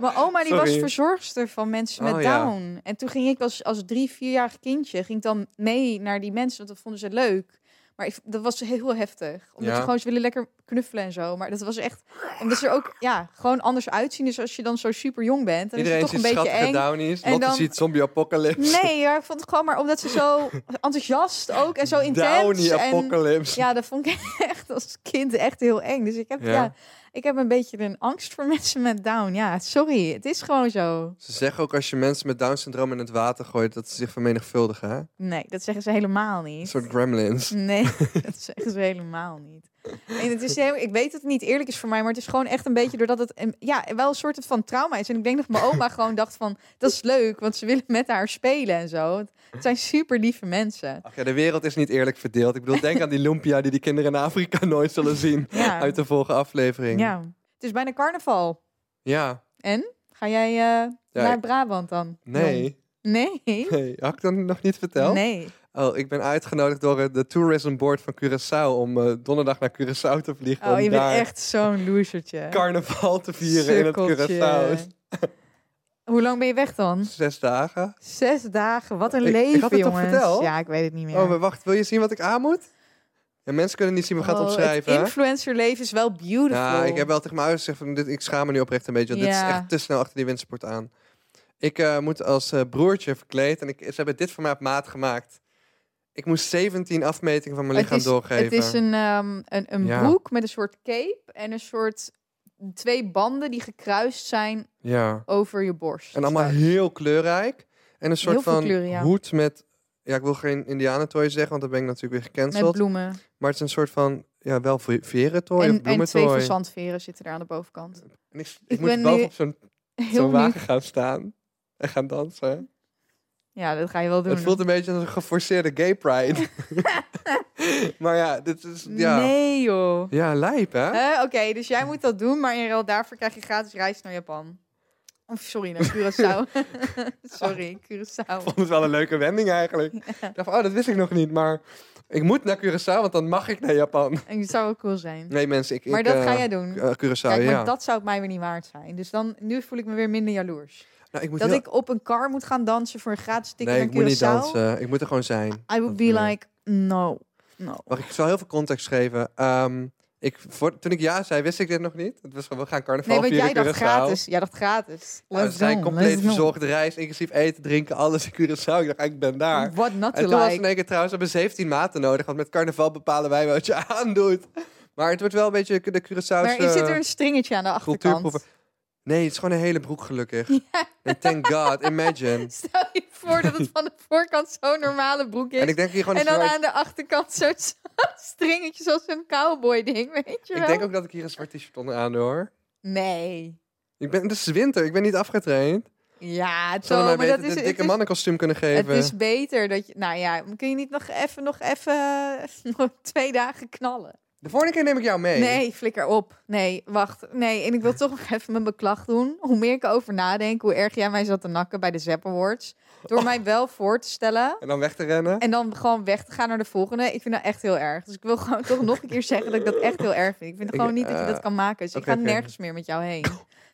[SPEAKER 1] Mijn oma die was
[SPEAKER 2] Sorry.
[SPEAKER 1] verzorgster van mensen met
[SPEAKER 2] Oh, ja.
[SPEAKER 1] down. En toen ging ik als, als drie, vierjarig kindje ging ik dan mee naar die mensen, want dat vonden ze leuk. Maar ik, dat was heel heftig. Omdat
[SPEAKER 2] Ja.
[SPEAKER 1] ze gewoon, ze willen lekker knuffelen en zo. Maar dat was echt... Omdat ze er ook ja, gewoon anders uitzien. Dus als je dan zo super jong bent, dan
[SPEAKER 2] Iedereen
[SPEAKER 1] is het toch
[SPEAKER 2] ziet
[SPEAKER 1] een beetje
[SPEAKER 2] schattige
[SPEAKER 1] eng.
[SPEAKER 2] downies.
[SPEAKER 1] En
[SPEAKER 2] Lotte
[SPEAKER 1] dan-
[SPEAKER 2] ziet zombie apocalypse.
[SPEAKER 1] Nee, ja, ik vond het gewoon maar omdat ze zo enthousiast ook en zo intens.
[SPEAKER 2] Downy
[SPEAKER 1] en,
[SPEAKER 2] apocalypse.
[SPEAKER 1] ja, dat vond ik echt als kind echt heel eng. Dus ik heb, ja.
[SPEAKER 2] Ja.
[SPEAKER 1] ik heb een beetje een angst voor mensen met down. Ja, sorry, het is gewoon zo.
[SPEAKER 2] Ze zeggen ook als je mensen met Down-syndroom in het water gooit, dat ze zich vermenigvuldigen. Hè?
[SPEAKER 1] Nee, dat zeggen ze helemaal niet.
[SPEAKER 2] Een soort gremlins.
[SPEAKER 1] Nee, dat zeggen ze helemaal niet. En het is, heel- ik weet dat het niet eerlijk is voor mij, maar het is gewoon echt een beetje doordat het een- ja, wel een soort van trauma is. En ik denk dat mijn oma gewoon dacht van, dat is leuk, want ze willen met haar spelen en zo. Het zijn super lieve mensen.
[SPEAKER 2] Ach ja, de wereld is niet eerlijk verdeeld. Ik bedoel, denk aan die lumpia die die kinderen in Afrika nooit zullen zien.
[SPEAKER 1] Ja.
[SPEAKER 2] Uit de volgende aflevering.
[SPEAKER 1] Ja, het is bijna carnaval.
[SPEAKER 2] Ja.
[SPEAKER 1] Ga jij eh, naar Brabant dan? Jon?
[SPEAKER 2] Nee.
[SPEAKER 1] Nee?
[SPEAKER 2] nee. Had ik dat nog niet verteld?
[SPEAKER 1] Nee.
[SPEAKER 2] Oh, ik ben uitgenodigd door eh, de Tourism Board van Curaçao om eh, donderdag naar Curaçao te vliegen.
[SPEAKER 1] Oh,
[SPEAKER 2] om
[SPEAKER 1] je bent
[SPEAKER 2] daar
[SPEAKER 1] echt zo'n losertje.
[SPEAKER 2] carnaval te vieren in het
[SPEAKER 1] Sukkeltje.
[SPEAKER 2] Curaçao.
[SPEAKER 1] Hoe lang ben je weg dan?
[SPEAKER 2] Zes dagen.
[SPEAKER 1] Zes dagen. Wat een
[SPEAKER 2] Ik- ik
[SPEAKER 1] leven,
[SPEAKER 2] had het toch
[SPEAKER 1] jongens.
[SPEAKER 2] verteld?
[SPEAKER 1] Ja, ik weet het niet meer.
[SPEAKER 2] Oh, maar wacht, wil je zien wat ik aan moet? Ja, mensen kunnen niet zien, we gaan
[SPEAKER 1] Oh,
[SPEAKER 2] het opschrijven. hè?
[SPEAKER 1] Het influencerleven is wel beautiful.
[SPEAKER 2] Ja, ik heb wel tegen mijn ouders gezegd, van, dit, ik schaam me nu oprecht een beetje. Want Dit
[SPEAKER 1] Ja.
[SPEAKER 2] is echt te snel achter die windsport aan. Ik eh, moet als eh, broertje verkleed en ik, ze hebben dit voor mij op maat gemaakt. Ik moest 17 afmetingen van mijn
[SPEAKER 1] Het
[SPEAKER 2] lichaam
[SPEAKER 1] is-
[SPEAKER 2] doorgeven.
[SPEAKER 1] Het is een, ehm, een, een
[SPEAKER 2] Ja.
[SPEAKER 1] broek met een soort cape en een soort twee banden die gekruist zijn
[SPEAKER 2] Ja.
[SPEAKER 1] over je borst.
[SPEAKER 2] En allemaal heel kleurrijk. En een soort
[SPEAKER 1] Heel veel
[SPEAKER 2] van
[SPEAKER 1] kleuren, ja.
[SPEAKER 2] hoed met... Ja, ik wil geen indianentooi zeggen, want dan ben ik natuurlijk weer
[SPEAKER 1] met
[SPEAKER 2] gecanceld.
[SPEAKER 1] bloemen.
[SPEAKER 2] Maar het is een soort van, ja, wel ve- verentooi of
[SPEAKER 1] En, en twee
[SPEAKER 2] bloementooi.
[SPEAKER 1] verzandveren zitten er aan de bovenkant.
[SPEAKER 2] En ik, ik,
[SPEAKER 1] Ik ben
[SPEAKER 2] moet
[SPEAKER 1] nu
[SPEAKER 2] boven op zo'n
[SPEAKER 1] Heel
[SPEAKER 2] zo'n
[SPEAKER 1] benieuwd.
[SPEAKER 2] wagen gaan staan en gaan dansen.
[SPEAKER 1] Ja, dat ga je wel doen.
[SPEAKER 2] Het voelt een beetje als een geforceerde gay pride. maar ja, dit is... Ja,
[SPEAKER 1] Nee, joh.
[SPEAKER 2] ja lijp, hè?
[SPEAKER 1] Hè, Oké, dus jij moet dat doen, maar in ruil daarvoor krijg je gratis reis naar Japan. Of sorry, naar Curaçao. sorry, Curaçao.
[SPEAKER 2] Ik vond het wel een leuke wending eigenlijk. Ik dacht, van, oh, dat wist ik nog niet, maar... Ik moet naar Curaçao, want dan mag ik naar Japan.
[SPEAKER 1] En dat zou wel cool zijn.
[SPEAKER 2] Nee, mensen, ik.
[SPEAKER 1] maar
[SPEAKER 2] ik,
[SPEAKER 1] dat
[SPEAKER 2] eh,
[SPEAKER 1] ga jij doen.
[SPEAKER 2] eh, Curaçao,
[SPEAKER 1] Kijk, maar
[SPEAKER 2] ja.
[SPEAKER 1] dat zou het mij weer niet waard zijn. Dus dan, nu voel ik me weer minder jaloers.
[SPEAKER 2] Nou, ik moet
[SPEAKER 1] Dat
[SPEAKER 2] heel-
[SPEAKER 1] ik op een car moet gaan dansen voor een gratis ticket
[SPEAKER 2] Nee,
[SPEAKER 1] naar
[SPEAKER 2] ik moet niet
[SPEAKER 1] Curaçao.
[SPEAKER 2] dansen. Ik moet er gewoon zijn.
[SPEAKER 1] I would be
[SPEAKER 2] Dat, eh,
[SPEAKER 1] like, no, no.
[SPEAKER 2] Wacht, ik zal heel veel context geven. Ehm, ik, voor, toen ik ja zei, wist ik dit nog niet. Het was gewoon, we gaan carnaval
[SPEAKER 1] Nee, want
[SPEAKER 2] vieren
[SPEAKER 1] jij dacht
[SPEAKER 2] in Curaçao.
[SPEAKER 1] gratis. Jij dacht gratis.
[SPEAKER 2] Nou, we
[SPEAKER 1] Let's
[SPEAKER 2] zijn
[SPEAKER 1] go,
[SPEAKER 2] compleet
[SPEAKER 1] let's go.
[SPEAKER 2] verzorgd, reis, inclusief eten, drinken, alles in Curaçao. Ik dacht, "Ah, ik ben daar.
[SPEAKER 1] What not
[SPEAKER 2] En
[SPEAKER 1] to
[SPEAKER 2] eh, toen was
[SPEAKER 1] like.
[SPEAKER 2] in één keer trouwens, we hebben 17 maten nodig, want met carnaval bepalen wij wat je aandoet. Maar het wordt wel een beetje de Curaçao's...
[SPEAKER 1] Maar er zit
[SPEAKER 2] eh,
[SPEAKER 1] er een stringetje aan de achterkant.
[SPEAKER 2] cultuurproeven. Nee, het is gewoon een hele broek gelukkig. En thank god, imagine.
[SPEAKER 1] Stel je voor dat het van de voorkant zo'n normale broek is.
[SPEAKER 2] En
[SPEAKER 1] En,
[SPEAKER 2] ik denk hier gewoon... een
[SPEAKER 1] dan
[SPEAKER 2] zwart-
[SPEAKER 1] aan de achterkant zo'n stringetje zoals een cowboy ding, weet je wel?
[SPEAKER 2] Ik denk ook dat ik hier een zwart t-shirt onder aan doe, hoor.
[SPEAKER 1] Nee.
[SPEAKER 2] Ik ben, het is winter, ik ben niet afgetraind.
[SPEAKER 1] Ja,
[SPEAKER 2] Zullen
[SPEAKER 1] Tom,
[SPEAKER 2] mij
[SPEAKER 1] maar
[SPEAKER 2] beter
[SPEAKER 1] dat is,
[SPEAKER 2] dit
[SPEAKER 1] het,
[SPEAKER 2] dikke
[SPEAKER 1] is,
[SPEAKER 2] mannenkostuum kunnen
[SPEAKER 1] het
[SPEAKER 2] geven?
[SPEAKER 1] is beter dat je... Nou ja, kun je niet nog even, nog even nog twee dagen knallen?
[SPEAKER 2] De volgende keer neem ik jou mee.
[SPEAKER 1] Nee, flikker op. Nee, wacht. Nee, en ik wil toch nog even mijn beklag doen. Hoe meer ik erover nadenk, hoe erg jij mij zat te nakken bij de Zapp Awards.
[SPEAKER 2] Oh.
[SPEAKER 1] Door mij wel voor te stellen
[SPEAKER 2] En dan weg te rennen.
[SPEAKER 1] en dan gewoon weg te gaan naar de volgende. Ik vind dat echt heel erg. Dus ik wil gewoon toch nog een keer zeggen dat ik dat echt heel erg vind. Ik vind
[SPEAKER 2] Ik-
[SPEAKER 1] gewoon niet dat je
[SPEAKER 2] eh,
[SPEAKER 1] dat kan maken. Dus
[SPEAKER 2] oké,
[SPEAKER 1] ik ga
[SPEAKER 2] oké.
[SPEAKER 1] nergens meer met jou heen.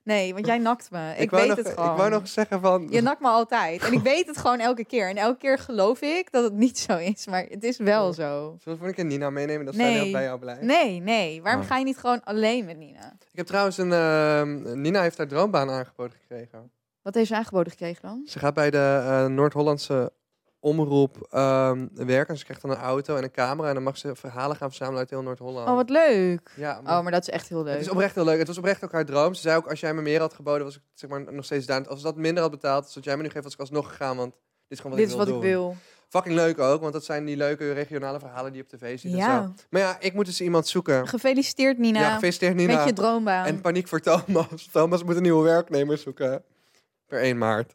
[SPEAKER 1] Nee, want jij nakt me. Ik,
[SPEAKER 2] wou
[SPEAKER 1] weet
[SPEAKER 2] nog,
[SPEAKER 1] het gewoon.
[SPEAKER 2] Ik wou nog zeggen van...
[SPEAKER 1] Je nakt me altijd. En ik weet het gewoon elke keer. En elke keer geloof ik dat het niet zo is. Maar het is wel zo.
[SPEAKER 2] Zullen we de volgende keer Nina meenemen? Dat zij
[SPEAKER 1] Nee.
[SPEAKER 2] heel bij jou blij.
[SPEAKER 1] Nee, nee. Waarom
[SPEAKER 2] Oh.
[SPEAKER 1] ga je niet gewoon alleen met Nina?
[SPEAKER 2] Ik heb trouwens een... ehm, Nina heeft haar droombaan aangeboden gekregen.
[SPEAKER 1] Wat heeft ze aangeboden gekregen dan?
[SPEAKER 2] Ze gaat bij de eh, Noord-Hollandse omroep ehm, werken. En ze krijgt dan een auto en een camera. En dan mag ze verhalen gaan verzamelen uit heel Noord-Holland.
[SPEAKER 1] Oh, wat leuk.
[SPEAKER 2] Ja, maar
[SPEAKER 1] Oh, maar dat is echt heel leuk.
[SPEAKER 2] Het is oprecht heel leuk. Het was oprecht ook haar droom. Ze zei ook, als jij me meer had geboden, was ik zeg maar, nog steeds daar. Als ze dat minder had betaald, zodat jij me nu geeft, was ik alsnog gegaan. Want dit is gewoon wat
[SPEAKER 1] Dit
[SPEAKER 2] ik
[SPEAKER 1] is
[SPEAKER 2] wil
[SPEAKER 1] wat ik
[SPEAKER 2] doen.
[SPEAKER 1] wil.
[SPEAKER 2] Fucking leuk ook, want dat zijn die leuke regionale verhalen die je op tv ziet en zo.
[SPEAKER 1] Ja.
[SPEAKER 2] Maar ja, ik moet dus iemand zoeken.
[SPEAKER 1] Gefeliciteerd, Nina.
[SPEAKER 2] ja, gefeliciteerd Nina.
[SPEAKER 1] Met je droombaan.
[SPEAKER 2] En paniek voor Thomas. Thomas moet een nieuwe werknemer zoeken. Per 1 maart.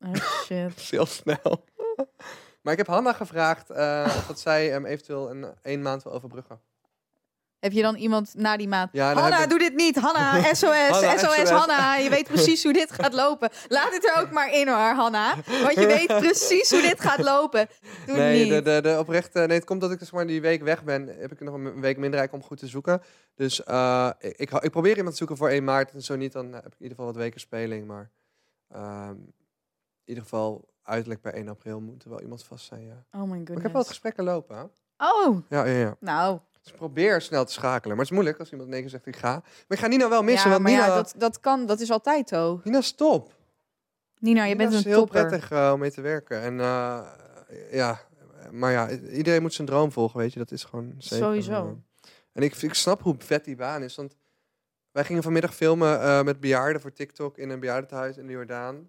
[SPEAKER 1] Oh, shit.
[SPEAKER 2] Dat is heel snel. maar ik heb Hanna gevraagd eh, of dat zij hem eventueel een, één maand wil overbruggen.
[SPEAKER 1] Heb je dan iemand na die maand?
[SPEAKER 2] Ja, dan
[SPEAKER 1] Hanna,
[SPEAKER 2] heb ik-
[SPEAKER 1] doe dit niet. Hanna, SOS,
[SPEAKER 2] Hanna,
[SPEAKER 1] SOS,
[SPEAKER 2] SOS.
[SPEAKER 1] Hanna. Je weet precies hoe dit gaat lopen. Laat het er ook maar in hoor, Hanna. Want je weet precies hoe dit gaat lopen. Doe het
[SPEAKER 2] Nee,
[SPEAKER 1] niet.
[SPEAKER 2] de, de, de oprechte, nee, het komt dat ik dus maar die week weg ben. Heb ik nog een week minder eigenlijk om goed te zoeken. Dus eh, ik, ik, hou- ik probeer iemand te zoeken voor 1 maart. En zo niet, dan heb ik in ieder geval wat weken speling. Maar ehm, in ieder geval uiterlijk bij 1 april moet er wel iemand vast zijn, ja. Maar
[SPEAKER 1] Oh my
[SPEAKER 2] ik heb wel wat
[SPEAKER 1] goodness.
[SPEAKER 2] gesprekken lopen, hè?
[SPEAKER 1] Oh,
[SPEAKER 2] Ja, ja, ja.
[SPEAKER 1] nou.
[SPEAKER 2] Dus ik probeer snel te schakelen. Maar het is moeilijk als iemand in één keer zegt, ik ga. Maar ik ga Nina wel missen,
[SPEAKER 1] Ja,
[SPEAKER 2] want
[SPEAKER 1] maar
[SPEAKER 2] Nina,
[SPEAKER 1] ja, dat, dat kan. Dat is altijd zo.
[SPEAKER 2] Nina is top.
[SPEAKER 1] Nina, je
[SPEAKER 2] Dat
[SPEAKER 1] bent
[SPEAKER 2] is
[SPEAKER 1] een
[SPEAKER 2] heel
[SPEAKER 1] topper.
[SPEAKER 2] prettig eh, om mee te werken. En eh, ja, maar ja, i- iedereen moet zijn droom volgen, weet je. Dat is gewoon zeker.
[SPEAKER 1] Sowieso.
[SPEAKER 2] eh. En ik, ik snap hoe vet die baan is, want wij gingen vanmiddag filmen eh, met bejaarden voor TikTok in een bejaardentehuis in de Jordaan.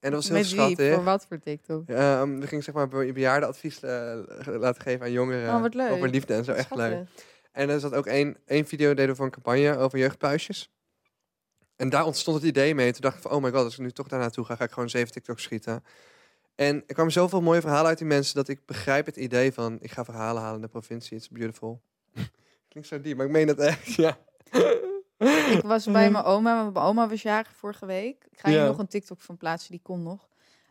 [SPEAKER 2] En dat was heel
[SPEAKER 1] Met wie?
[SPEAKER 2] schattig.
[SPEAKER 1] Voor wat voor TikTok?
[SPEAKER 2] Eh, we gingen zeg maar be- bejaardenadvies eh, laten geven aan jongeren
[SPEAKER 1] Oh, wat leuk.
[SPEAKER 2] over liefde en zo. Echt leuk.
[SPEAKER 1] Schattig.
[SPEAKER 2] En er zat ook één, één video deden we voor een campagne over jeugdpuisjes. En daar ontstond het idee mee. Toen dacht ik van, oh my god, als ik nu toch daar naartoe ga, ga ik gewoon zeven TikTok schieten. En er kwamen zoveel mooie verhalen uit die mensen dat ik begrijp het idee van, ik ga verhalen halen in de provincie. It's beautiful. Klinkt zo diep, maar ik meen dat echt. Ja.
[SPEAKER 1] Ik was bij mijn oma, want mijn oma was jarig vorige week. Ik ga
[SPEAKER 2] Mhm. Ja.
[SPEAKER 1] hier nog een TikTok van plaatsen, die komt nog.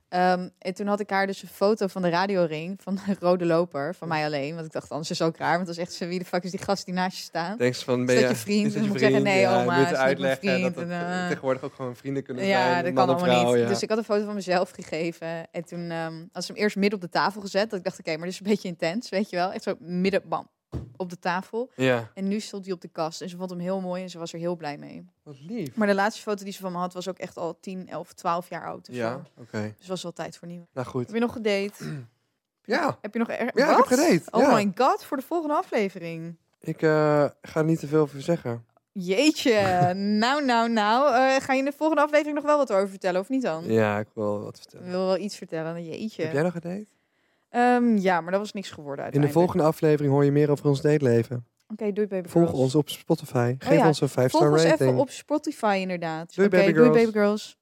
[SPEAKER 1] Ehm, en toen had ik haar dus een foto van de radioring, van de rode loper, van mij alleen. Want ik dacht, anders is het ook raar, want dat is echt zo, wie de fuck is die gast die naast je staat?
[SPEAKER 2] Denk ze van, ben
[SPEAKER 1] Is
[SPEAKER 2] je,
[SPEAKER 1] dat je vriend?
[SPEAKER 2] is dat
[SPEAKER 1] Dan
[SPEAKER 2] je
[SPEAKER 1] moet ik zeggen,
[SPEAKER 2] vriend?
[SPEAKER 1] nee,
[SPEAKER 2] Ja, je
[SPEAKER 1] oma,
[SPEAKER 2] moet
[SPEAKER 1] is dat mijn
[SPEAKER 2] uitleggen
[SPEAKER 1] vriend?
[SPEAKER 2] dat het
[SPEAKER 1] En, eh,
[SPEAKER 2] tegenwoordig ook gewoon vrienden kunnen zijn.
[SPEAKER 1] Ja, dat
[SPEAKER 2] man
[SPEAKER 1] kan
[SPEAKER 2] of
[SPEAKER 1] allemaal
[SPEAKER 2] vrouw,
[SPEAKER 1] niet.
[SPEAKER 2] ja.
[SPEAKER 1] Dus ik had een foto van mezelf gegeven. En toen ehm had ze hem eerst midden op de tafel gezet. Dat ik dacht, oké, maar dit is een beetje intens, weet je wel. Echt zo midden, bam, op de tafel.
[SPEAKER 2] Ja,
[SPEAKER 1] En nu stond hij op de kast. En ze vond hem heel mooi en ze was er heel blij mee.
[SPEAKER 2] wat lief.
[SPEAKER 1] Maar de laatste foto die ze van me had, was ook echt al 10, 11, 12 jaar oud. of
[SPEAKER 2] Ja,
[SPEAKER 1] zo.
[SPEAKER 2] oké.
[SPEAKER 1] Dus was wel tijd voor nieuw.
[SPEAKER 2] Nou goed.
[SPEAKER 1] Heb je nog gedate?
[SPEAKER 2] Ja.
[SPEAKER 1] Heb je nog er...
[SPEAKER 2] Ja, ik
[SPEAKER 1] Wat?
[SPEAKER 2] heb gedate,
[SPEAKER 1] Oh
[SPEAKER 2] ja.
[SPEAKER 1] my god, voor de volgende aflevering.
[SPEAKER 2] Ik eh, ga er niet te veel over zeggen.
[SPEAKER 1] Jeetje, nou, nou, nou. Eh, ga je in de volgende aflevering nog wel wat over vertellen, of niet dan? Mm,
[SPEAKER 2] Ja, ik wil wat
[SPEAKER 1] Ik
[SPEAKER 2] vertellen.
[SPEAKER 1] wil wel iets vertellen, jeetje.
[SPEAKER 2] Heb jij nog gedate?
[SPEAKER 1] Ehm, ja, maar dat was niks geworden
[SPEAKER 2] In de
[SPEAKER 1] uiteindelijk.
[SPEAKER 2] volgende aflevering hoor je meer over ons dateleven.
[SPEAKER 1] Oké, doei baby
[SPEAKER 2] Volg
[SPEAKER 1] girls.
[SPEAKER 2] ons op Spotify. Geef
[SPEAKER 1] Oh ja,
[SPEAKER 2] ons een 5-star
[SPEAKER 1] Volg ons
[SPEAKER 2] rating.
[SPEAKER 1] even op Spotify inderdaad.
[SPEAKER 2] Doei,
[SPEAKER 1] Oké,
[SPEAKER 2] baby
[SPEAKER 1] doei
[SPEAKER 2] girls.
[SPEAKER 1] baby girls.